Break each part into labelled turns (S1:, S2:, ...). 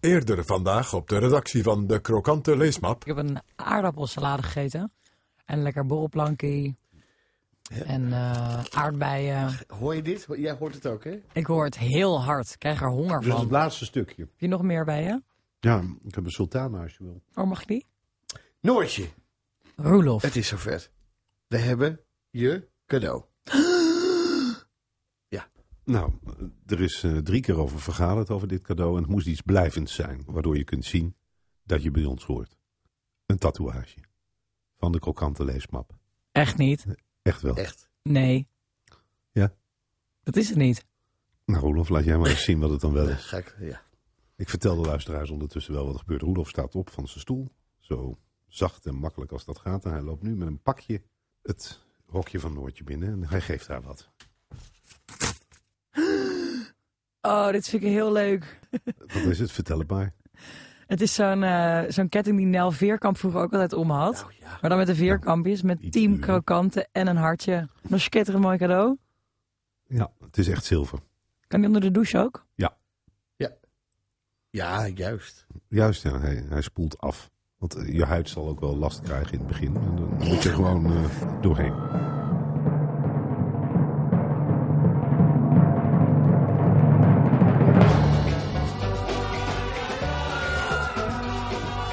S1: Eerder vandaag op de redactie van de krokante leesmap.
S2: Ik heb een aardappelsalade gegeten. En lekker borrelplankie. En eh, aardbeien.
S3: Hoor je dit? Jij hoort het ook, hè?
S2: Ik hoor het heel hard. Ik krijg er honger
S3: Dus
S2: van.
S3: het
S2: Heb
S3: laatste stukje.
S2: je nog meer bij je?
S3: Ja, ik heb een sultana als je wil.
S2: Oh, mag ik die?
S3: Noortje,
S2: Roelof.
S3: het is zover. We hebben je cadeau.
S4: Nou, er is eh, drie keer over vergaderd over dit cadeau. En het moest iets blijvends zijn, waardoor je kunt zien dat je bij ons hoort. Een tatoeage. Van de krokante leesmap.
S2: Echt niet.
S4: Echt wel.
S3: Echt.
S2: Nee.
S4: Ja.
S2: Dat is het niet.
S4: Nou, Roelof, laat jij maar eens zien wat het dan wel
S3: Ja,
S4: is.
S3: ga ik, ja.
S4: Ik vertel de luisteraars ondertussen wel wat er gebeurt. Roelof staat op van zijn stoel. Zo zacht en makkelijk als dat gaat. En hij loopt nu met een pakje het hokje van Noortje binnen. En hij geeft haar wat.
S2: Oh, dit vind ik heel leuk.
S4: Wat is het? Vertel het maar.
S2: Het is zo'n eh, zo'n ketting die Nel Veerkamp vroeger ook altijd om had.
S3: Nou ja.
S2: Maar dan met de vierkampjes, met
S4: Iets
S2: tien
S4: duurder.
S2: krokanten en een hartje. Dat is een mooi cadeau.
S4: Ja, het is echt zilver.
S2: Kan die onder de douche ook?
S3: ja, juist.
S4: Juist, ja, hij, hij spoelt af. Want eh, je huid zal ook wel last krijgen in het begin. En dan moet je gewoon eh, doorheen.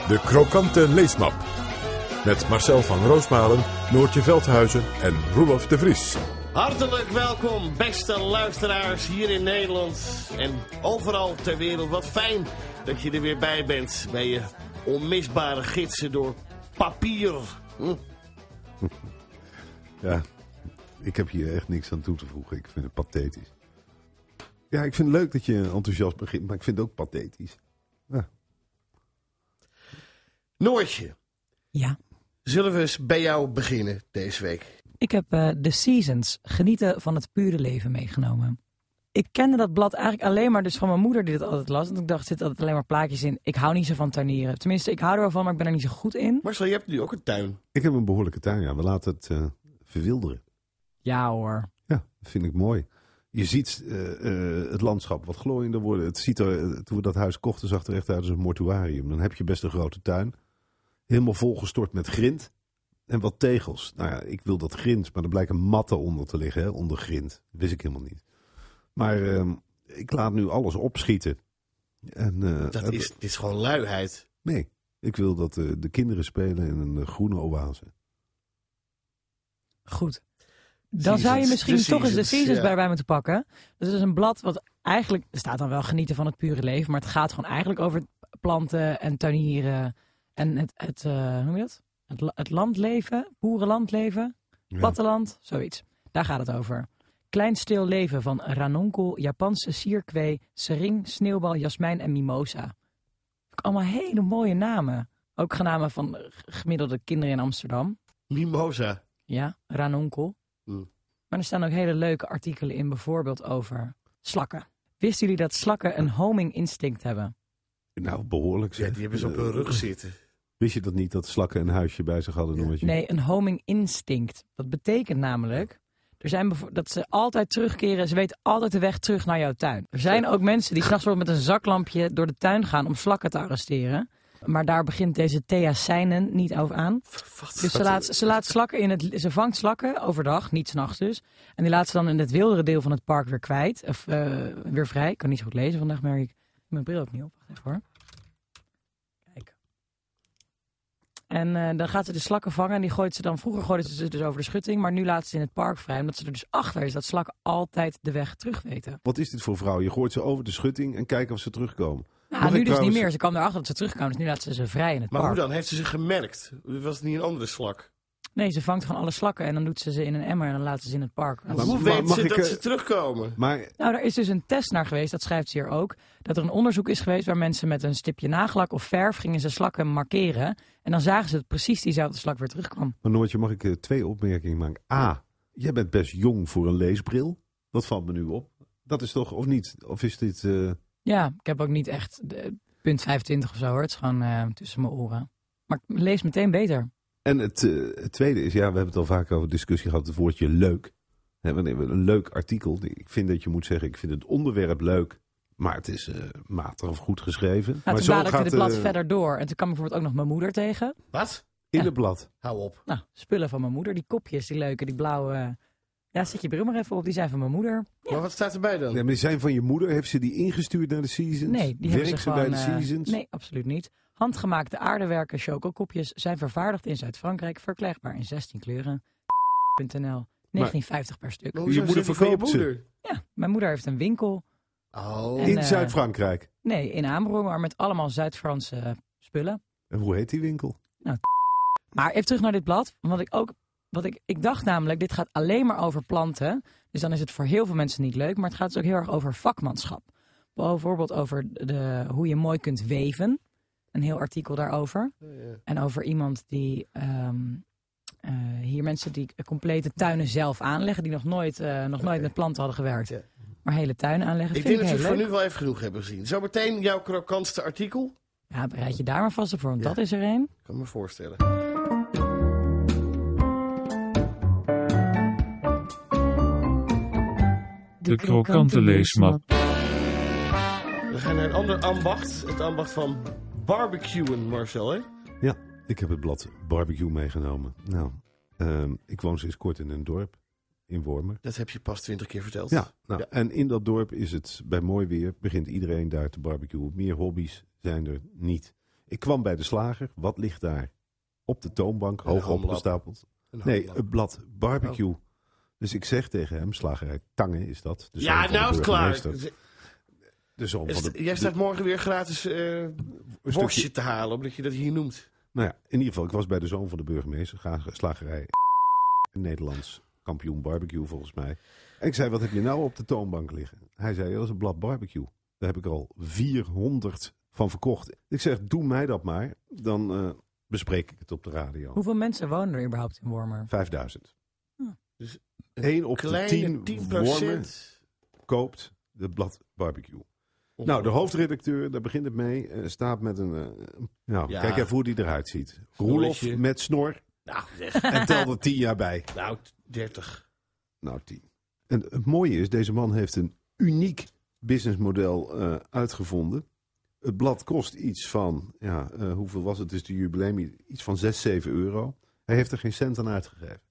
S1: De krokante leesmap. Met Marcel van Roosmalen, Noortje Veldhuizen en Roelof de Vries.
S5: Hartelijk welkom, beste luisteraars hier in Nederland en overal ter wereld. Wat fijn dat je er weer bij bent bij je onmisbare gidsen door papier. Hm,
S4: Ja, ik heb hier echt niks aan toe te voegen. Ik vind het pathetisch. Ja, ik vind het leuk dat je enthousiast begint, maar ik vind het ook pathetisch.
S3: Noortje,
S2: Ja.
S3: zullen we eens bij jou beginnen deze week?
S2: Ik heb eh The Seasons, Genieten van het pure leven, meegenomen. Ik kende dat blad eigenlijk alleen maar dus van mijn moeder die dat altijd las. Want ik dacht, er zitten altijd alleen maar plaatjes in. Ik hou niet zo van tuinieren. Tenminste, ik hou er wel van, maar ik ben er niet zo goed in.
S3: Marcel, je hebt nu ook een tuin.
S4: Ik heb een behoorlijke tuin, ja. We laten het eh, verwilderen.
S2: Ja hoor.
S4: Ja, dat vind ik mooi. Je ziet eh, eh, het landschap wat glooiender worden. Het ziet er, eh, toen we dat huis kochten, zag het er echt uit als een mortuarium. Dan heb je best een grote tuin. Helemaal volgestort met grind en wat tegels. Nou ja, ik wil dat grind, maar er blijken matten onder te liggen, hè, onder grind. Dat wist ik helemaal niet. Maar ehm, ik laat nu alles opschieten. En, eh,
S3: Dat
S4: het-
S3: is, dit is gewoon luiheid.
S4: Nee, ik wil dat eh, de kinderen spelen in een eh, groene oase.
S2: Goed. Dan zou je
S3: Seasons,
S2: misschien
S3: The
S2: toch eens de
S3: Seasons,
S2: Seasons
S3: ja.
S2: bij bij moeten pakken. Dus het is een blad wat eigenlijk er staat dan wel genieten van het pure leven. Maar het gaat gewoon eigenlijk over planten en tuinieren. En het, het eh, hoe noem je dat? Het, la- het landleven, boerenlandleven,
S4: Ja.
S2: platteland, zoiets. Daar gaat het over. Klein stil leven van ranonkel, Japanse sierkwee, sering, sneeuwbal, jasmijn en mimosa. Ook allemaal hele mooie namen. Ook namen van eh, g- gemiddelde kinderen in Amsterdam.
S3: Mimosa.
S2: Ja, ranonkel.
S3: Mm.
S2: Maar er staan ook hele leuke artikelen in, bijvoorbeeld over slakken. Wisten jullie dat slakken een hominginstinct hebben?
S4: Nou, behoorlijk.
S3: Ja,
S4: zeg. Eh,
S3: die hebben ze op hun rug zitten.
S4: Wist je dat niet, dat slakken een huisje bij zich hadden? omdat je-
S2: Nee, een hominginstinct. Dat betekent namelijk er zijn bevo- dat ze altijd terugkeren. Ze weten altijd de weg terug naar jouw tuin. Er zijn ook mensen die s'nachts met een zaklampje door de tuin gaan om slakken te arresteren. Maar daar begint deze theacijnen niet over aan.
S3: Wat?
S2: Dus ze laat, ze laat slakken in het. Ze vangt slakken overdag, niet s'nachts dus. En die laat ze dan in het wildere deel van het park weer kwijt. Of eh, weer vrij. Ik kan niet zo goed lezen vandaag, merk ik. Ik heb Mijn bril ook niet op. Wacht even hoor. Kijk. En eh, dan gaat ze de slakken vangen. En die gooit ze dan. Vroeger gooiden ze ze dus over de schutting. Maar nu laat ze ze in het park vrij. Omdat ze er dus achter is dat slakken altijd de weg terug weten.
S4: Wat is dit voor vrouw? Je gooit ze over de schutting en kijkt of ze terugkomen.
S2: Nou,
S4: Mag
S2: nu
S4: ik
S2: dus niet
S4: trouwens-
S2: meer. Ze kwam erachter dat ze terugkwamen. Dus nu laat ze ze vrij in het
S3: Maar hoe
S2: park.
S3: dan? Heeft ze ze gemerkt? Was het niet een andere slak?
S2: Nee, ze vangt gewoon alle slakken. En dan doet ze ze in een emmer. En dan laten ze ze in het park. Laat ze
S3: hoe
S4: ma-
S3: weet
S4: mag
S3: ze
S4: ik,
S3: dat
S4: eh,
S3: ze terugkomen?
S4: Maar
S2: Nou, daar is dus een test naar geweest, dat schrijft ze hier ook. Dat er een onderzoek is geweest waar mensen met een stipje nagellak of verf gingen ze slakken markeren. En dan zagen ze dat precies diezelfde slak weer terugkwam.
S4: Maar Noortje, mag ik eh, twee opmerkingen maken? A, jij bent best jong voor een leesbril. Dat valt me nu op. Dat is toch, of niet? Of is dit... eh,
S2: Ja, ik heb ook niet echt de, punt 25 of zo hoor. Het is gewoon eh, tussen mijn oren. Maar ik lees meteen beter.
S4: En het, eh, het tweede is, ja, we hebben het al vaak over discussie gehad, het woordje leuk. Hè, wanneer we een leuk artikel, ik vind dat je moet zeggen, ik vind het onderwerp leuk. Maar het is eh, matig of goed geschreven.
S2: Nou,
S4: maar
S2: toen
S4: zo
S2: bladerde ik
S4: gaat
S2: in het blad
S4: eh,
S2: verder door. En toen kwam ik bijvoorbeeld ook nog mijn moeder tegen.
S5: Wat?
S4: in
S2: Ja.
S4: het blad.
S5: Hou op.
S2: Nou, spullen van mijn moeder. Die kopjes, die leuke, die blauwe. Ja, zet je bril maar even op. Die zijn van mijn moeder.
S5: Maar wat staat erbij dan?
S4: Ja, maar die zijn van je moeder. Heeft ze die ingestuurd naar de Seasons?
S2: Nee, die
S4: Werkt
S2: hebben ze gewoon...
S4: bij de
S2: eh,
S4: Seasons?
S2: nee, absoluut niet. Handgemaakte aardewerken chocokopjes zijn vervaardigd in Zuid-Frankrijk. Verkrijgbaar in 16 kleuren. .nl 1950 per stuk.
S5: Maar hoezo
S4: Je moeder
S5: zit die van
S4: verkoopt ze.
S5: moeder?
S2: Ja, mijn moeder heeft een winkel.
S5: Oh.
S2: En,
S4: in
S2: eh,
S4: Zuid-Frankrijk.
S2: Nee, in Amerongen, maar met allemaal Zuid-Franse eh, spullen.
S4: En hoe heet die winkel?
S2: Maar even terug naar dit blad. Want ik ook. Wat ik, ik dacht namelijk, dit gaat alleen maar over planten. Dus dan is het voor heel veel mensen niet leuk. Maar het gaat dus ook heel erg over vakmanschap. Bijvoorbeeld over de, hoe je mooi kunt weven. Een heel artikel daarover.
S5: Ja.
S2: En over iemand die. ehm, eh, hier mensen die complete tuinen zelf aanleggen. Die nog nooit, eh, nog nooit met planten hadden gewerkt.
S5: Ja.
S2: Maar hele tuinen aanleggen.
S5: Ik
S2: vind
S5: denk
S2: ik
S5: dat we
S2: heel
S5: het
S2: leuk.
S5: voor nu wel even genoeg hebben gezien. Zometeen jouw krokantste artikel.
S2: Ja, bereid je daar maar vast op voor. Want dat is er een.
S5: Ik kan me voorstellen.
S6: De krokante leesmap.
S5: We gaan naar een ander ambacht. Het ambacht van barbecuen, Marcel. Hè?
S4: Ik heb het blad Barbecue meegenomen. Nou, ehm, ik woon sinds kort in een dorp. In Wormer.
S5: Dat heb je pas twintig keer verteld.
S4: Ja, nou,
S5: Ja.
S4: en in dat dorp is het bij mooi weer, begint iedereen daar te barbecuen. Meer hobby's zijn er niet. Ik kwam bij de slager, wat ligt daar? Op de toonbank,
S5: Een
S4: hoog
S5: hamlap.
S4: opgestapeld.
S5: Een
S4: Nee, eh,
S5: handlap.
S4: het blad barbecue. Dus ik zeg tegen hem, slagerij Tangen is dat. de zoon
S5: ja,
S4: dus van de
S5: nou is het klaar.
S4: burgemeester. De zoon
S5: Is-
S4: van de,
S5: Jij
S4: de-
S5: staat morgen weer gratis eh
S4: een stukje-
S5: worstje te halen, omdat je dat hier noemt.
S4: Nou ja, in ieder geval, ik was bij de zoon van de burgemeester, gra- slagerij Nederlands kampioen barbecue volgens mij. En ik zei, wat heb je nou op de toonbank liggen? Hij zei, dat is een blad barbecue. Daar heb ik er al 400 van verkocht. Ik zeg, doe mij dat maar. Dan eh, bespreek ik het op de radio.
S2: Hoeveel mensen wonen er überhaupt in Wormer?
S4: 5000.
S2: Ja.
S5: Dus
S4: Eén op de
S5: Kleine
S4: 10
S5: 10
S4: wormen koopt het blad barbecue. Nou, de hoofdredacteur, daar begint het mee, eh, staat met een... eh, nou,
S5: Ja.
S4: kijk even hoe die eruit ziet.
S5: Snorretje.
S4: Roelof met snor
S5: Nou, zeg,
S4: en tel er 10 jaar bij.
S5: nou, 30.
S4: Nou, tien. En het mooie is, deze man heeft een uniek businessmodel eh, uitgevonden. Het blad kost iets van, ja, eh, hoeveel was het? Het is de jubileum, iets van 6, 7 euro. Hij heeft er geen cent aan uitgegeven.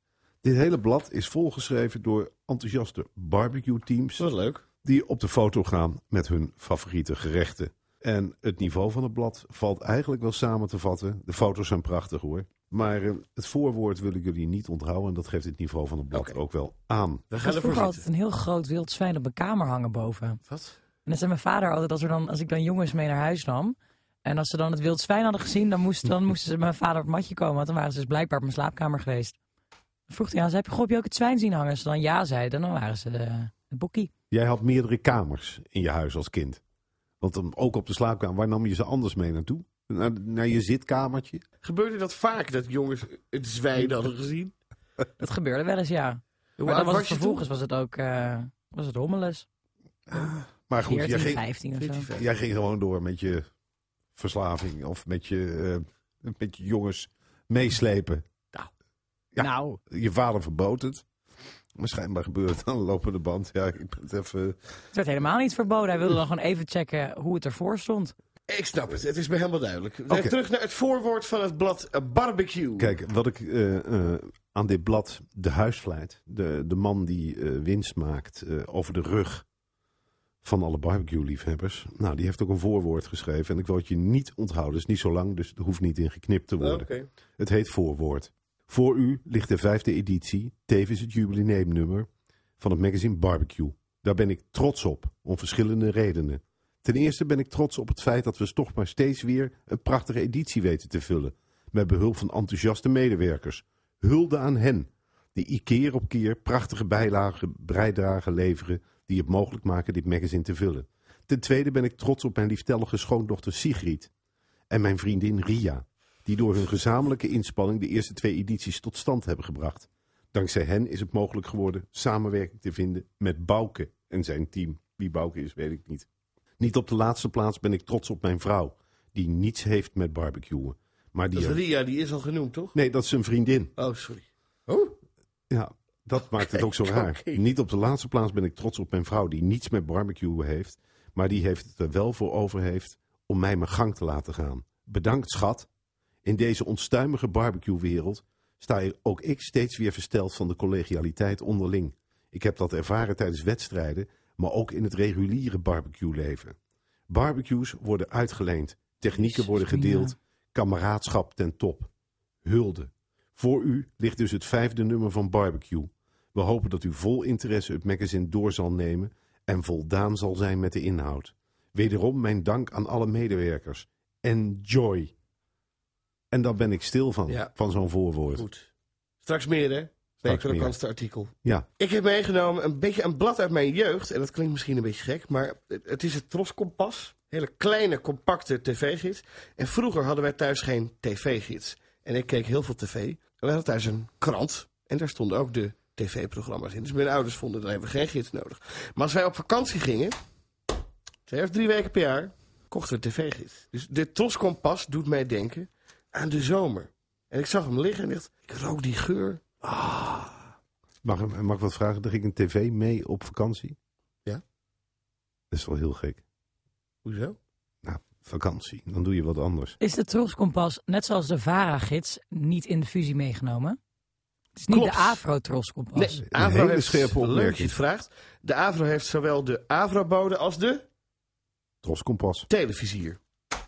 S4: Dit hele blad is volgeschreven door enthousiaste barbecue-teams
S5: Dat is leuk.
S4: die op de foto gaan met hun favoriete gerechten. En het niveau van het blad valt eigenlijk wel samen te vatten. De foto's zijn prachtig hoor. Maar eh, het voorwoord wil ik jullie niet onthouden. En dat geeft het niveau van het blad
S5: Oké.
S4: ook wel aan.
S5: We
S2: Ik
S5: gaan
S2: had
S5: ervoor
S2: vroeger
S5: zitten.
S2: altijd een heel groot wild zwijn op mijn kamer hangen boven.
S5: Wat?
S2: En dan zei mijn vader altijd, als, er dan, als ik dan jongens mee naar huis nam. En als ze dan het wild zwijn hadden gezien, dan, moest, dan moesten ze bij mijn vader op het matje komen. Want dan waren ze dus blijkbaar op mijn slaapkamer geweest. Dan vroeg hij aan ze, heb je, goh, heb je ook het zwijn zien hangen? Als ze dan ja zeiden, dan waren ze de, de bokkie.
S4: Jij had meerdere kamers in je huis als kind. Want dan ook op de slaapkamer, waar nam je ze anders mee naartoe? Naar, naar je zitkamertje?
S5: Gebeurde dat vaak, dat jongens het zwijn hadden gezien?
S2: Dat gebeurde wel eens, ja.
S5: Hoe
S2: maar dan was
S5: oud was
S2: het
S5: je
S2: vervolgens was het ook eh, was het hommeles.
S4: Maar goed,
S2: 14,
S4: jij ging,
S2: 15 of zo.
S5: 14,
S4: jij ging gewoon door met je verslaving. Of met je, eh, met je jongens meeslepen. Ja.
S2: Nou,
S4: Je vader verbood het. Maar schijnbaar gebeurt het aan de lopende band. Ja, ik ben het even...
S2: het werd helemaal niet verboden. Hij wilde dan gewoon even checken hoe het ervoor stond.
S5: Ik snap het, het is me helemaal duidelijk. We
S4: Oké.
S5: Terug naar het voorwoord van het blad eh, Barbecue.
S4: Kijk, wat ik eh, eh, aan dit blad de huisvleit... De, de man die eh, winst maakt eh, over de rug van alle barbecue-liefhebbers... Nou, die heeft ook een voorwoord geschreven. En ik wil het je niet onthouden. Het is niet zo lang, dus er hoeft niet in geknipt te
S5: Oh, Oké.
S4: worden. Het heet Voorwoord. Voor u ligt de vijfde editie, tevens het jubileumnummer, van het magazine Barbecue. Daar ben ik trots op, om verschillende redenen. Ten eerste ben ik trots op het feit dat we toch maar steeds weer een prachtige editie weten te vullen. Met behulp van enthousiaste medewerkers. Hulde aan hen, die i- keer op keer prachtige bijlagen, bijdragen leveren die het mogelijk maken dit magazine te vullen. Ten tweede ben ik trots op mijn lieftallige schoondochter Sigrid en mijn vriendin Ria die door hun gezamenlijke inspanning de eerste twee edities tot stand hebben gebracht. Dankzij hen is het mogelijk geworden samenwerking te vinden met Bouke en zijn team. Wie Bouke is, weet ik niet. Niet op de laatste plaats ben ik trots op mijn vrouw, die niets heeft met barbecuen. Maar
S5: Dat
S4: die
S5: is Ria, die is al genoemd, toch?
S4: Nee, dat is een vriendin.
S5: Oh, sorry.
S4: Ja, dat maakt het ook zo raar.
S5: oké.
S4: Niet op de laatste plaats ben ik trots op mijn vrouw, die niets met barbecuen heeft. Maar die heeft het er wel voor over heeft om mij mijn gang te laten gaan. Bedankt, schat. In deze onstuimige barbecuewereld sta ook ik steeds weer versteld van de collegialiteit onderling. Ik heb dat ervaren tijdens wedstrijden, maar ook in het reguliere barbecueleven. Barbecues worden uitgeleend, technieken
S2: Jezus,
S4: worden
S2: Mina.
S4: gedeeld, kameraadschap ten top. Hulde. Voor u ligt dus het vijfde nummer van Barbecue. We hopen dat u vol interesse het magazine door zal nemen en voldaan zal zijn met de inhoud. Wederom mijn dank aan alle medewerkers. Enjoy. En daar ben ik stil van,
S5: Ja.
S4: van zo'n voorwoord.
S5: Goed. Straks meer, hè? Bij
S4: Straks
S5: het
S4: meer.
S5: krokantste artikel.
S4: Ja,
S5: Ik heb meegenomen een beetje een blad uit mijn jeugd. En dat klinkt misschien een beetje gek, maar het- het is het Troskompas. Hele kleine, compacte tv-gids. En vroeger hadden wij thuis geen tv-gids. En ik keek heel veel tv. En we hadden thuis een krant. En daar stonden ook de tv-programma's in. Dus mijn ouders vonden, dan hebben we geen gids nodig. Maar als wij op vakantie gingen, twee of drie weken per jaar, kochten we een tv-gids. Dus de Troskompas doet mij denken aan de zomer. En ik zag hem liggen en dacht, ik rook die geur.
S4: mag, mag ik wat vragen? Daar ging een tv mee op vakantie?
S5: Ja.
S4: Dat is wel heel gek.
S5: Hoezo?
S4: Nou, vakantie, dan doe je wat anders.
S2: Is de troskompas, net zoals de VARA-gids, niet in de fusie meegenomen? Het is niet
S5: Klopt.
S2: de Afro-troskompas.
S5: Nee,
S4: Een
S5: Avro
S4: hele
S5: heeft,
S4: scherpe
S5: Leuk dat je
S4: opmerking.
S5: het vraagt. De Avro heeft zowel de Avrobode als de
S4: Troskompas.
S5: televisier.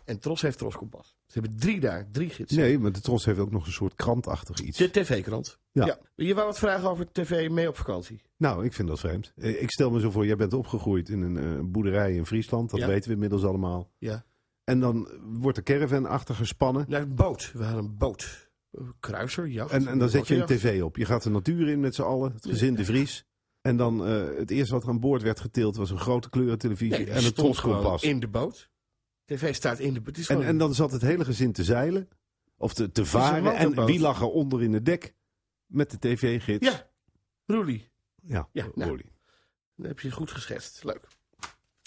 S5: En Tros heeft Troskompas. Ze hebben drie daar, drie gidsen.
S4: Nee, maar de Tros heeft ook nog een soort krantachtig iets.
S5: De tv-krant.
S4: Ja.
S5: Je wou wat vragen over tv mee op vakantie.
S4: Nou, ik vind dat vreemd. Eh, Ik stel me zo voor, jij bent opgegroeid in een eh, boerderij in Friesland. Dat
S5: Ja.
S4: weten we inmiddels allemaal.
S5: Ja.
S4: En dan wordt de caravan achtergespannen.
S5: Naar een boot. We hadden een boot. Een Kruiser, jacht.
S4: En, en dan zet je een
S5: bootjacht.
S4: tv op. Je gaat de natuur in met z'n allen. Het gezin de Vries. En dan eh, het eerste wat er aan boord werd geteeld was een grote kleurentelevisie
S5: Nee, die
S4: en een
S5: stond gewoon
S4: troskompas.
S5: in de boot. TV staat in de boot. Het is
S4: En,
S5: gewoon-
S4: en dan zat het hele gezin te zeilen. Of te, te
S5: een
S4: varen. En
S5: motorboot.
S4: wie lag er onder in het dek? Met de tv-gids.
S5: Ja, Roelie.
S4: ja,
S5: Ja, nou.
S4: Rolly.
S5: Dat heb je goed geschetst. Leuk.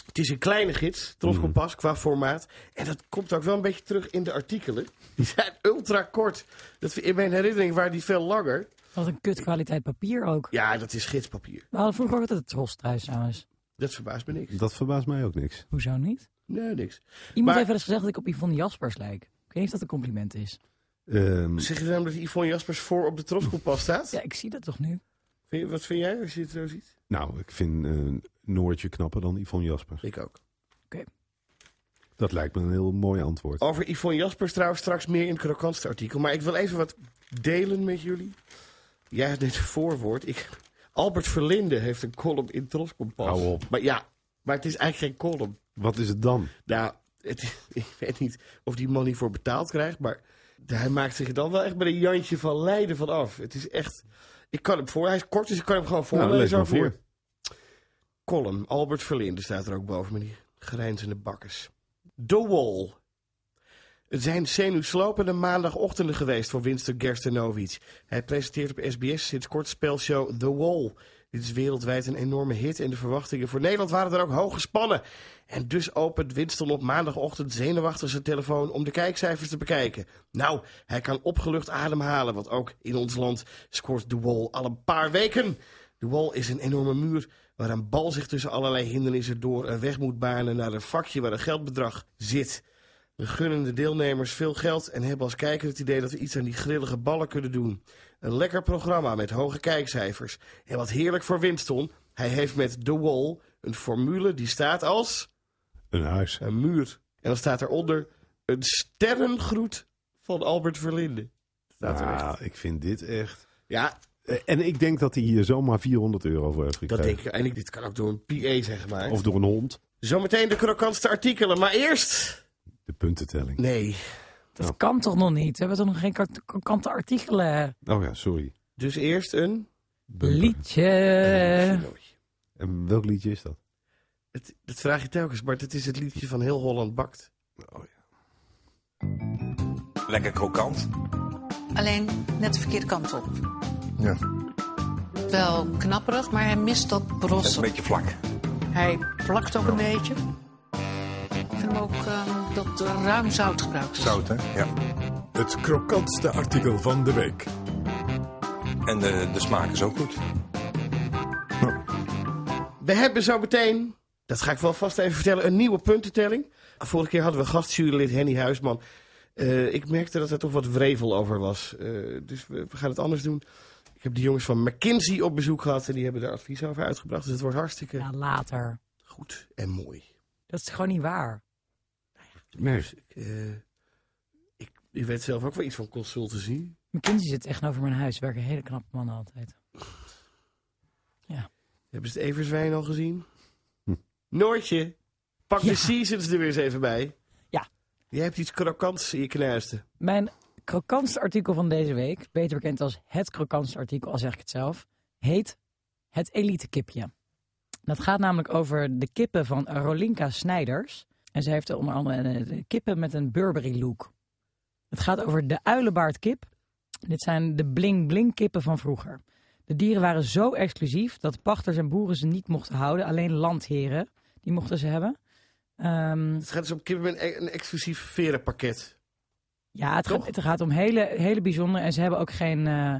S5: Het is een kleine gids, Troskompas, qua formaat. En dat komt ook wel een beetje terug in de artikelen. Die zijn ultra kort. Dat, in mijn herinnering waren die veel langer.
S2: Wat een kut kwaliteit papier ook.
S5: Ja, dat is gidspapier.
S2: We hadden vroeger ook altijd het tros thuis trouwens.
S5: Dat verbaast me niks.
S4: Dat verbaast mij ook niks.
S2: Hoezo niet?
S5: Nee, niks.
S2: Iemand
S5: Maar-
S2: heeft wel eens gezegd dat ik op Yvonne Jaspers lijk. Ik weet niet of dat een compliment is.
S4: Ehm,
S5: Zeg je dan dat Yvonne Jaspers voor op de Troskompas staat?
S2: Ja, ik zie dat toch nu?
S5: Vind je- wat vind jij als je het zo ziet?
S4: nou, ik vind eh, Noortje knapper dan Yvonne Jaspers.
S5: Ik ook.
S4: Dat lijkt me een heel mooi antwoord.
S5: Over Yvonne Jaspers trouwens straks meer in het krokantste artikel. Maar ik wil even wat delen met jullie. Jij had net een voorwoord. Ik, Albert Verlinde heeft een column in Troskompas.
S4: Hou op.
S5: Maar ja, maar het is eigenlijk geen column.
S4: Wat is het dan?
S5: Nou, het, ik weet niet of die man hiervoor betaald krijgt, maar hij maakt zich er dan wel echt met een Jantje van Leiden van af. Het is echt... Ik kan hem voor... Hij is kort, dus ik kan hem gewoon
S4: Nou, lees
S5: voorlezen.
S4: maar
S5: over hier.
S4: voor.
S5: Column, Albert Verlinde staat er ook boven met die grijnzende bakkers. De Wall. Het zijn zenuwslopende maandagochtenden geweest voor Winston Gerstenovic. Hij presenteert op SBS sinds kort spelshow The Wall. Dit is wereldwijd een enorme hit en de verwachtingen voor Nederland waren er ook hoog gespannen. En dus opent Winston op maandagochtend zenuwachtig zijn telefoon om de kijkcijfers te bekijken. Nou, hij kan opgelucht ademhalen, want ook in ons land scoort The Wall al een paar weken. De wal is een enorme muur waar een bal zich tussen allerlei hindernissen door een weg moet banen naar een vakje waar een geldbedrag zit. We gunnen de deelnemers veel geld en hebben als kijker het idee dat we iets aan die grillige ballen kunnen doen. Een lekker programma met hoge kijkcijfers. En wat heerlijk voor Winston, hij heeft met The Wall een formule die staat als
S4: Een huis.
S5: een muur. En dan staat eronder een sterrengroet van Albert Verlinde. Staat er echt.
S4: Ah, ik vind dit echt...
S5: Ja,
S4: Eh, En ik denk dat hij hier zomaar 400 euro voor heeft
S5: dat
S4: gekregen.
S5: denk ik. En ik- dit kan ook door een PA, zeg maar.
S4: Of door een hond.
S5: Zometeen de krokantste artikelen, maar eerst...
S4: De puntentelling.
S5: Nee.
S2: Dat
S4: Nou.
S2: kan toch nog niet? We hebben toch nog geen kant- kante artikelen?
S4: Oh ja, sorry.
S5: Dus eerst een...
S4: Bumper.
S2: Liedje.
S5: Chinootje.
S4: En welk liedje is dat?
S5: Het, dat vraag je telkens, maar het is het liedje van Heel Holland Bakt.
S7: Lekker krokant.
S8: Alleen net de verkeerde kant op.
S7: Ja.
S8: Wel knapperig, maar hij mist dat
S7: Dat is een
S8: brossen.
S7: beetje vlak.
S8: Hij plakt ook een beetje. Ik vind hem ook ehm, dat er ruim zout gebruikt is.
S7: Zout, hè? Ja.
S1: Het krokantste artikel van de week.
S7: En de, de smaak is ook goed.
S5: We hebben zo meteen Dat ga ik wel vast even vertellen. Een nieuwe puntentelling. Vorige keer hadden we gastjurylid Henny Huisman. Eh, ik merkte dat er toch wat wrevel over was. Eh, dus we, we gaan het anders doen. Ik heb die jongens van McKinsey op bezoek gehad. En die hebben daar advies over uitgebracht. Dus het wordt hartstikke
S2: Ja, later.
S5: goed en mooi.
S2: Dat is gewoon niet waar.
S4: Nee.
S5: Eh, ik, ik weet zelf ook wel iets van consultancy.
S2: McKinsey zit echt over mijn huis. Werken hele knappe mannen altijd.
S5: Hebben ze het Everzwijn al gezien?
S4: Hm.
S5: Noortje, pak
S2: Ja.
S5: de seasons er weer eens even bij.
S2: Ja.
S5: Jij hebt iets krokants in je knuisten.
S2: Mijn krokantste artikel van deze week, beter bekend als het krokantste artikel, al zeg ik het zelf, heet Het Elite Kipje. Dat gaat namelijk over de kippen van Rolinka Snijders. En zij heeft onder andere eh, kippen met een Burberry look. Het gaat over de uilenbaardkip. Dit zijn de bling-bling kippen van vroeger. De dieren waren zo exclusief dat pachters en boeren ze niet mochten houden. Alleen landheren, die mochten ze hebben. Ehm,
S5: Het gaat dus om kippen met een, een exclusief verenpakket.
S2: Ja, het
S5: Toch?
S2: gaat, het gaat om hele, hele bijzondere. En ze hebben ook geen. eh,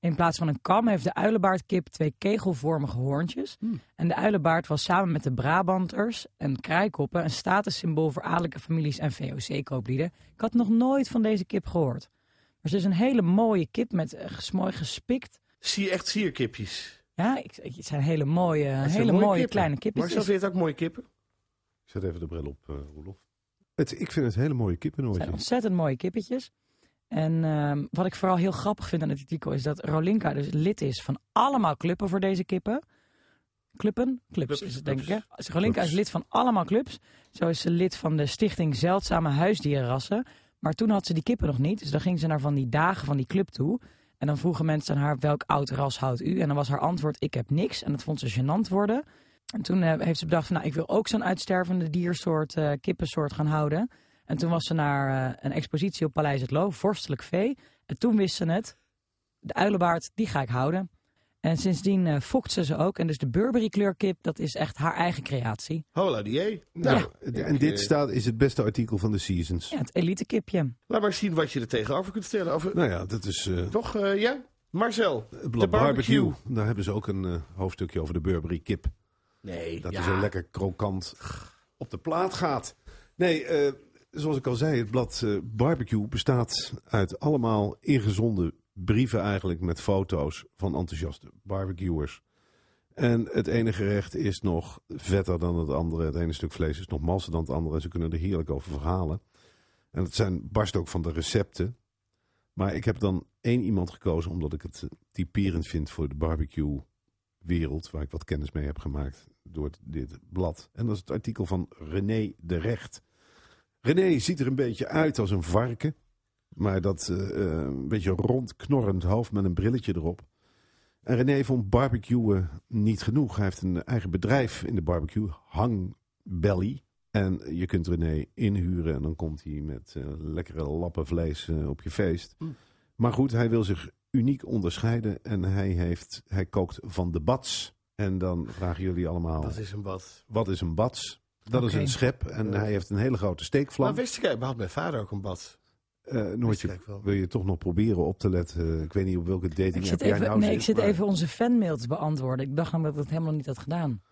S2: in plaats van een kam heeft de uilenbaardkip twee kegelvormige hoorntjes.
S5: Hm.
S2: En de uilenbaard was samen met de Brabanters en kraaikoppen een statussymbool voor adellijke families en VOC-kooplieden. Ik had nog nooit van deze kip gehoord. Maar ze is een hele mooie kip met eh, ges- mooi gespikt.
S5: Zie je echt sierkipjes.
S2: Ja, ik, ik- het zijn hele mooie,
S5: Het zijn
S2: hele mooie, kleine
S5: Marcel,
S2: kippen.
S5: vind je het ook mooie kippen?
S4: Ik zet even de bril op, eh Roelof. Het, ik vind het hele mooie
S2: Het zijn
S4: kippenoortjes.
S2: ontzettend mooie kippetjes. En ehm, wat ik vooral heel grappig vind aan het artikel is dat Rolinka dus lid is van allemaal clubben voor deze kippen. Clubben? Clubs
S5: Clubs,
S2: is het denk
S5: clubs.
S2: ik hè? Dus Rolinka is lid van allemaal clubs. Zo is ze lid van de stichting Zeldzame Huisdierenrassen. Maar toen had ze die kippen nog niet. Dus dan ging ze naar van die dagen van die club toe. En dan vroegen mensen aan haar welk oud ras houdt u? En dan was haar antwoord ik heb niks. En dat vond ze gênant worden. En toen eh, heeft ze bedacht van nou ik wil ook zo'n uitstervende diersoort, eh, kippensoort gaan houden. En toen was ze naar eh, een expositie op Paleis het Loo, vorstelijk vee. En toen wist ze het, de uilenbaard, die ga ik houden. En sindsdien eh, fokt ze ze ook. En dus de Burberry kleurkip, dat is echt haar eigen creatie.
S5: Hola die. eh,
S4: Nou,
S5: Ja.
S4: en dit staat, is het beste artikel van de Seasons.
S2: Ja, het elite kipje.
S5: Laat maar zien wat je er tegenover kunt stellen. Of,
S4: Nou ja, dat is... eh,
S5: Toch, eh, ja? Marcel.
S4: De barbecue. Daar hebben ze ook een eh, hoofdstukje over de Burberry kip.
S5: Nee,
S4: Dat
S5: ja.
S4: is zo lekker krokant op de plaat gaat. Nee, eh, zoals ik al zei, het blad eh, Barbecue bestaat uit allemaal ingezonden brieven eigenlijk met foto's van enthousiaste barbecuers. En het ene gerecht is nog vetter dan het andere. Het ene stuk vlees is nog masser dan het andere. En ze kunnen er heerlijk over verhalen. En het zijn barst ook van de recepten. Maar ik heb dan één iemand gekozen omdat ik het eh, typerend vind voor de barbecue wereld waar ik wat kennis mee heb gemaakt door dit blad. En dat is het artikel van René de Recht. René ziet er een beetje uit als een varken, maar dat eh, eh, een beetje rond knorrend hoofd met een brilletje erop. En René vond barbecuen niet genoeg. Hij heeft een eigen bedrijf in de barbecue, Hang Belly. En je kunt René inhuren en dan komt hij met eh, lekkere lappen vlees eh, op je feest.
S5: Mm.
S4: Maar goed, hij wil zich uniek onderscheiden en hij, heeft, hij kookt van de bats. En dan vragen jullie allemaal,
S5: Dat is Eh. een bad.
S4: wat is een bats? Dat is
S2: Oké.
S4: een schep en hij heeft een hele grote steekvlam.
S5: Maar wist ik, eigenlijk, had mijn vader ook een bad.
S4: Eh,
S5: Wist ik
S4: Noortje,
S5: eigenlijk wel.
S4: wil je toch nog proberen op te letten? Ik weet niet op welke dating
S2: Ik
S4: app
S2: zit
S4: jij
S2: even,
S4: nou
S2: nee,
S4: zit,
S2: ik zit
S4: maar-
S2: even onze fanmail te beantwoorden. Ik dacht namelijk dat ik het helemaal niet had gedaan.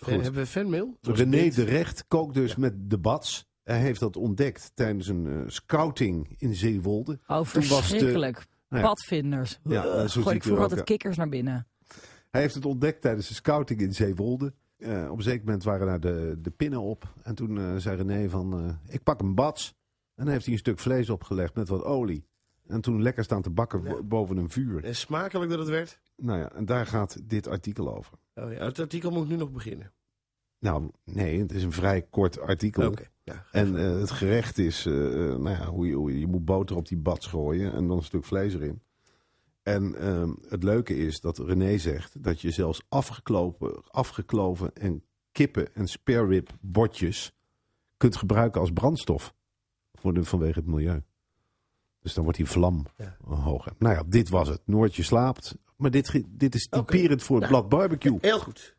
S5: Eh, Hebben we fanmail?
S4: René de Recht kookt dus met de bats. Hij heeft dat ontdekt tijdens een eh, scouting in Zeewolde.
S2: Oh,
S4: was de-
S2: verschrikkelijk.
S4: Nou ja.
S2: Padvinders.
S4: Ja,
S2: Ugh,
S4: zo zie
S2: Gooi
S4: ik
S2: ik
S4: er ook,
S2: vroeger altijd
S4: ja.
S2: kikkers naar binnen.
S4: Hij heeft het ontdekt tijdens de scouting in Zeewolde. Eh, op een zeker moment waren daar de, de pinnen op. En toen eh, zei René van, eh, ik pak een bats. En dan heeft hij een stuk vlees opgelegd met wat olie. En toen lekker staan te bakken bo- boven een vuur.
S5: En Eh, smakelijk dat het werd.
S4: Nou ja, en daar gaat dit artikel over.
S5: Oh, ja. Het artikel moet nu nog beginnen.
S4: Nou, nee, het is een vrij kort artikel.
S5: Ja.
S4: En eh, het gerecht is, eh, eh, nou ja, hoe je, hoe je, je moet boter op die bats gooien en dan een stuk vlees erin. En ehm, het leuke is dat René zegt dat je zelfs afgeklopen, afgekloven en kippen en spare rib botjes kunt gebruiken als brandstof voor de, vanwege het milieu. Dus dan wordt die vlam
S5: Ja.
S4: hoger. Nou ja, dit was het. Noortje slaapt. Maar dit, ge- dit is
S5: Oké. Nou.
S4: typerend voor het blad barbecue.
S5: Heel goed.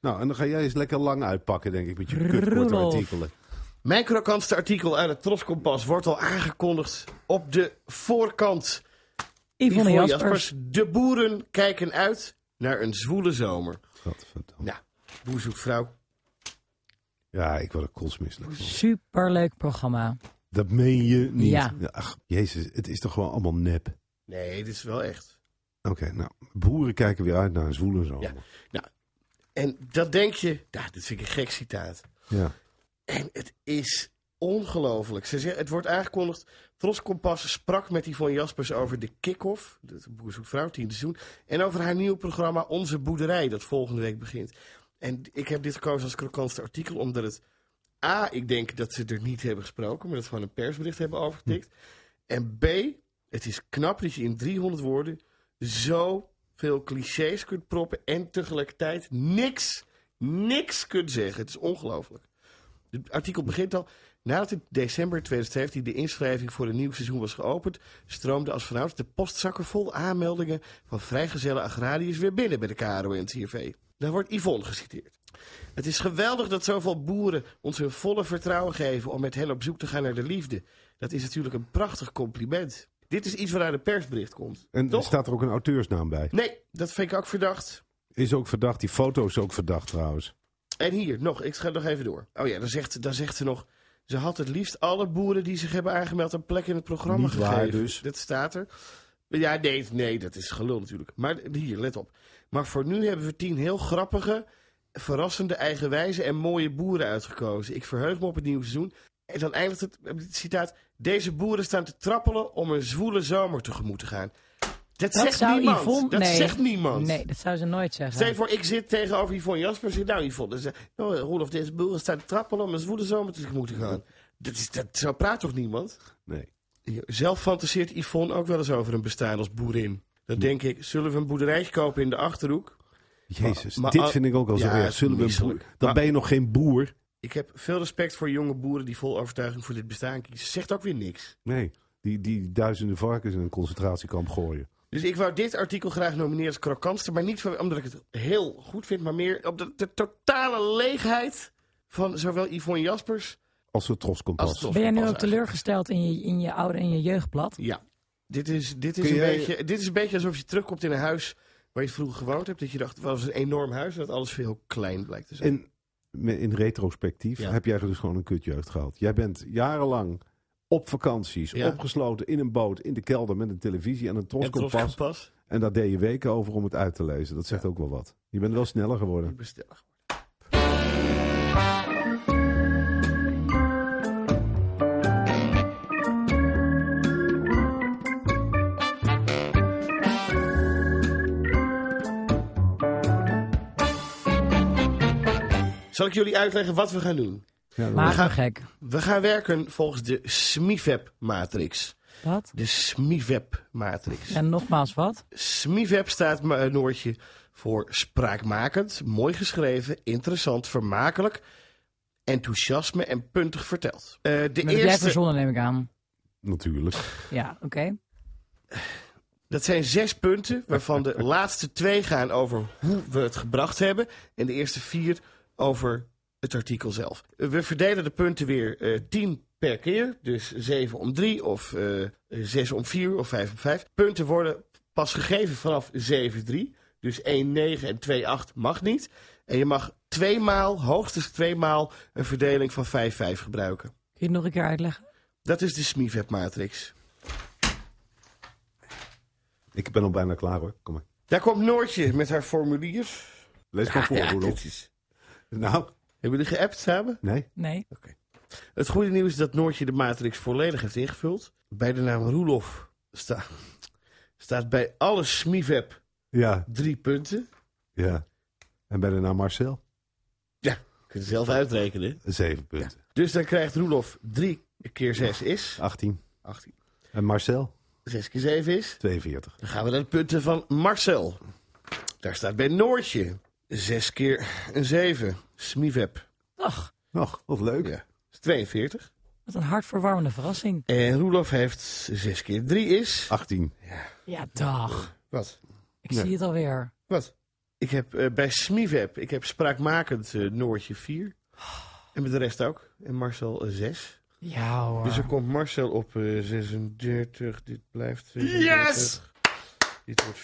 S4: Nou, en dan ga jij eens lekker lang uitpakken, denk ik, met je kutkorte
S2: Roelof.
S4: artikelen.
S5: Mijn krokantste artikel uit het Troskompas wordt al aangekondigd op de voorkant.
S2: Yvonne
S5: Ivo
S2: Jaspers.
S5: De boeren kijken uit naar een zwoele zomer. Nou, boer zoekt vrouw.
S4: Ja, ik word er kotsmisselijk van.
S2: Superleuk programma.
S4: Dat meen je niet.
S2: Ja.
S4: Ach, jezus, het is toch gewoon allemaal nep. Oké,
S5: Nee, dit is wel echt.
S4: nou, boeren kijken weer uit naar een zwoele zomer.
S5: En dat denk je, nou, dit vind ik een gek citaat.
S4: Ja.
S5: En het is ongelooflijk. Ze zeggen, het wordt aangekondigd. Tros Kompas sprak met Yvonne Jaspers over de kick-off. De Boer zoekt vrouw, tiende seizoen. En over haar nieuwe programma Onze Boerderij, dat volgende week begint. En ik heb dit gekozen als krokantste artikel, omdat het... A, ik denk dat ze er niet hebben gesproken, maar dat ze gewoon een persbericht hebben overgetikt. En B, het is knap dat je in 300 woorden zo veel clichés kunt proppen en tegelijkertijd niks, niks kunt zeggen. Het is ongelooflijk. Het artikel begint al. Nadat in december 2017 de inschrijving voor een nieuw seizoen was geopend, stroomde als vanouds de postzakken vol aanmeldingen van vrijgezelle agrariërs weer binnen bij de KRO en CRV. Daar wordt Yvonne geciteerd. Het is geweldig dat zoveel boeren ons hun volle vertrouwen geven om met hen op zoek te gaan naar de liefde. Dat is natuurlijk een prachtig compliment. Dit is iets waar uit een persbericht komt.
S4: En er
S5: Toch?
S4: staat er ook een auteursnaam bij.
S5: Nee, dat vind ik ook verdacht.
S4: Is ook verdacht. Die foto is ook verdacht trouwens.
S5: En hier, nog, ik ga nog even door. Oh ja, dan zegt, dan zegt ze nog... Ze had het liefst alle boeren die zich hebben aangemeld een plek in het programma
S4: Niet waar,
S5: gegeven.
S4: dus.
S5: Dat staat er. Ja, nee, nee, dat is gelul natuurlijk. Maar hier, let op. Maar voor nu hebben we tien heel grappige, verrassende, eigenwijze en mooie boeren uitgekozen. Ik verheug me op het nieuwe seizoen. En dan eindigt het, het citaat... Deze boeren staan te trappelen om een zwoele zomer tegemoet te gaan. Dat,
S2: Dat
S5: zegt
S2: zou
S5: niemand.
S2: Yvonne...
S5: dat
S2: nee.
S5: zegt niemand.
S2: Nee, dat zou ze nooit zeggen.
S5: Stel je voor, ik zit tegenover Yvonne Jaspers. Ik zeg, Nou, Yvonne, dan zeg, nou, Roelof, deze boeren staan te trappelen om een zwoele zomer te moeten gaan. Dat is, dat, zo praat toch niemand?
S4: Nee.
S5: Zelf fantaseert Yvonne ook wel eens over een bestaan als boerin. Dan denk ik, zullen we een boerderijtje kopen in de Achterhoek?
S4: Jezus,
S5: Maar- maar
S4: dit
S5: al-
S4: vind ik ook al zo
S5: Ja,
S4: erg. Zullen we een boer-
S5: misselijk.
S4: Dan
S5: Maar-
S4: ben je nog geen boer.
S5: Ik heb veel respect voor jonge boeren die vol overtuiging voor dit bestaan kiezen. Zegt ook weer niks.
S4: Nee, die, die duizenden varkens in een concentratiekamp gooien.
S5: Dus ik wou dit artikel graag nomineren als krokantste. Maar niet van- omdat ik het heel goed vind, maar meer op de, de totale leegheid van zowel Yvonne Jaspers
S4: Als het
S5: als
S4: troskompas.
S5: Tos.
S2: Ben jij nu ook
S5: Pas eigenlijk.
S2: teleurgesteld in je, in je oude en je jeugdblad?
S5: Ja. Dit is, dit, is
S4: Kun
S5: een
S4: jij-
S5: beetje, dit is een beetje alsof je terugkomt in een huis waar je vroeger gewoond hebt. Dat je dacht, wat was een enorm huis. En dat alles veel klein blijkt te zijn.
S4: En me- in retrospectief
S5: Ja.
S4: heb jij dus gewoon een kutjeugd gehad. Jij bent jarenlang op vakanties,
S5: Ja.
S4: opgesloten in een boot, in de kelder met een televisie en een
S5: En trots
S4: troskompas.
S5: kompas.
S4: En daar deed je weken over om het uit te lezen. Dat zegt ook wel wat. Je bent wel sneller geworden.
S5: Ik ben stellig. Zal ik jullie uitleggen wat we gaan doen?
S4: Ja, dat
S2: Maar
S4: was-
S5: gaan-
S2: gek.
S5: We gaan werken volgens de SMIVEP-matrix.
S2: Wat?
S5: De SMIVEP-matrix.
S2: En nogmaals, wat?
S5: SMIVEP staat ma- eh, Noortje voor spraakmakend, mooi geschreven, interessant, vermakelijk, enthousiasme en puntig verteld. Eh, de
S2: Dat heb jij
S5: eerste,
S2: verzonnen, neem ik aan.
S4: Natuurlijk.
S2: Ja, oké.
S5: dat zijn zes punten, waarvan de laatste twee gaan over hoe we het gebracht hebben. En de eerste vier over het artikel zelf. Eh, We verdelen de punten weer eh, 10 per keer. Dus 7 om 3 of eh 6 om 4 of 5 om 5. Punten worden pas gegeven vanaf 7-3. Dus 1-9 en 2-8 mag niet. En je mag tweemaal, hoogstens tweemaal, een verdeling van 5-5 gebruiken.
S2: Kun je het nog een keer uitleggen?
S5: Dat is de SMIVEP-matrix.
S4: Ik ben al bijna klaar hoor. Kom maar.
S5: Daar komt Noortje met haar formulier.
S4: Lees maar voor,
S5: Ja,
S4: Roelof.
S5: dit is...
S4: Nou,
S5: Hebben jullie geappt samen?
S4: nee.
S2: Nee.
S5: Het goede nieuws is dat Noortje de matrix volledig heeft ingevuld. Bij de naam Roelof sta- staat bij alle SMIVEP
S4: Ja,
S5: drie punten.
S4: ja. En bij de naam Marcel?
S5: Ja, je kunt het zelf uitrekenen.
S4: Zeven punten.
S5: Dus dan krijgt Roelof drie keer zes is.
S4: 18.
S5: 18.
S4: En Marcel?
S5: Zes keer zeven is.
S4: 42.
S5: Dan gaan we naar de punten van Marcel. Daar staat bij Noortje zes keer een zeven. SMIVEP.
S2: Ach,
S4: Nog, wat leuk.
S5: Ja. is 42.
S2: wat een hartverwarmende verrassing.
S5: En Roelof heeft zes keer drie is.
S4: 18.
S2: Ja, dag.
S5: Wat?
S2: Ik zie het alweer.
S5: Wat? Ik heb eh, bij Smivep, ik heb spraakmakend eh, Noortje 4. En met de rest ook. En Marcel eh, 6.
S2: Ja hoor.
S5: Dus er komt Marcel op eh, 36. Dit blijft. 36. Dit wordt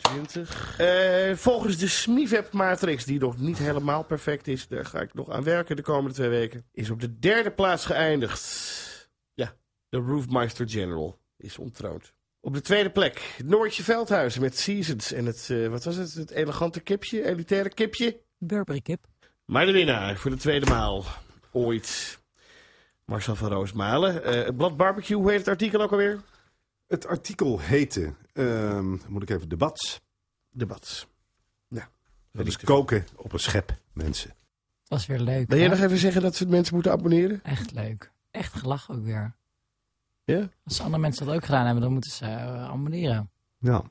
S5: 24. Eh, volgens de SMIVEP matrix, die nog niet helemaal perfect is, daar ga ik nog aan werken de komende twee weken, is op de derde plaats geëindigd. Ja, de Roofmeister General is ontroond. Op de tweede plek, Noortje Veldhuizen met Seasons en het, eh, wat was het, het elegante kipje, elitaire kipje.
S2: Burberry kip.
S5: Maar de winnaar voor de tweede maal ooit, Marcel van Roosmalen. Eh het blad barbecue, hoe heet het artikel ook alweer?
S4: Het artikel heette, ehm, moet ik even, debats.
S5: Debat.
S4: Dat
S5: ik
S4: is
S5: te
S4: koken op een schep, mensen.
S2: Was weer leuk.
S5: Wil jij
S2: hè?
S5: nog even zeggen dat ze mensen moeten abonneren?
S2: Echt leuk. Echt gelach ook weer.
S5: Ja?
S2: Als andere mensen dat ook gedaan hebben, dan moeten ze eh, abonneren.
S4: Ja.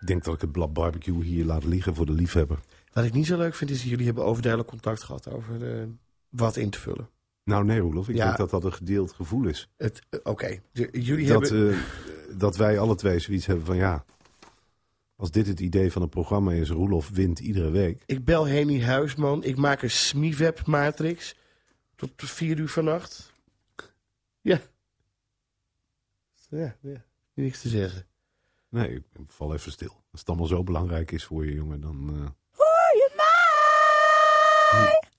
S4: Ik denk dat ik het blad barbecue hier laat liggen voor de liefhebber.
S5: Wat ik niet zo leuk vind is dat jullie hebben overduidelijk contact gehad over eh, wat in te vullen.
S4: Nou nee, Roelof, ik
S5: Ja.
S4: denk dat dat een gedeeld gevoel is.
S5: Het, eh, Oké, De- jullie
S4: dat,
S5: hebben...
S4: eh, dat wij alle twee zoiets hebben van ja. Als dit het idee van een programma is, Roelof wint iedere week.
S5: Ik bel Henny Huisman, ik maak een SmiWeb matrix tot vier uur vannacht. Ja. Ja, ja. Niks te zeggen.
S4: Nee, ik val even stil. Als het allemaal zo belangrijk is voor je, jongen, dan. eh,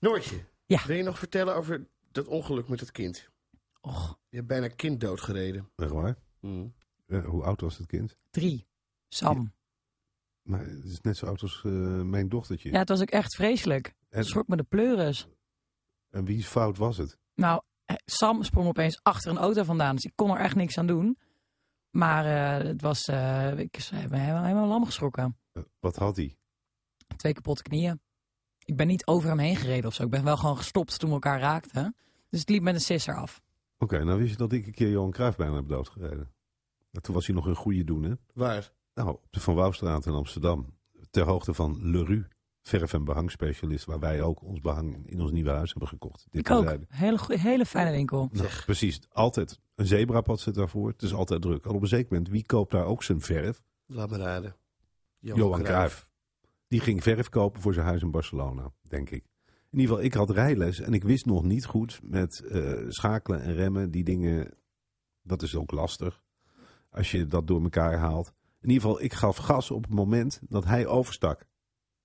S5: Noortje,
S2: Ja.
S5: wil je nog vertellen over dat ongeluk met dat kind?
S2: Och,
S5: Je hebt bijna kind doodgereden.
S4: echt waar.
S5: Mm.
S4: Eh, hoe oud was het kind?
S2: drie. Sam.
S4: Maar het is net zo oud als eh, mijn dochtertje.
S2: Ja, het was ook echt vreselijk.
S4: en,
S2: Schrok me de pleuris.
S4: en wie fout was het?
S2: Nou, eh, Sam sprong opeens achter een auto vandaan, dus ik kon er echt niks aan doen. Maar eh, het was, eh, ik ze hebben me helemaal, helemaal lam geschrokken.
S4: Eh, wat had hij?
S2: Twee kapotte knieën. Ik ben niet over hem heen gereden of zo. Ik ben wel gewoon gestopt toen we elkaar raakten. Dus het liep met een sisser af.
S4: Oké, nou wist je dat ik een keer Johan Cruijff bijna heb doodgereden. Nou, toen was hij nog een goede doen, hè?
S5: Waar?
S4: Nou, op de Van Wouwstraat in Amsterdam. Ter hoogte van Leru, verf- en behangspecialist. Waar wij ook ons behang in ons nieuwe huis hebben gekocht. Dit
S2: ik ook.
S4: terzijde.
S2: Hele, goe- hele fijne winkel.
S4: Nou, precies. Altijd. Een zebrapad zit daarvoor. Het is altijd druk. Al op een zeker moment, wie koopt daar ook zijn verf?
S5: Laat me raden.
S4: Johan Cruijff. Die ging verf kopen voor zijn huis in Barcelona, denk ik. In ieder geval, ik had rijles en ik wist nog niet goed met eh, schakelen en remmen. Die dingen, dat is ook lastig als je dat door elkaar haalt. In ieder geval, ik gaf gas op het moment dat hij overstak.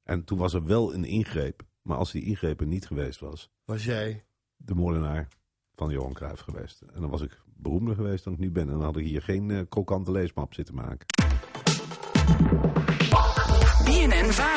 S4: En toen was er wel een ingreep. Maar als die ingreep er niet geweest was,
S5: Was jij?
S4: de moordenaar van Johan Cruijff geweest. En dan was ik beroemder geweest dan ik nu ben. En dan had ik hier geen eh, krokante leesmap zitten maken.
S9: BNN Vara.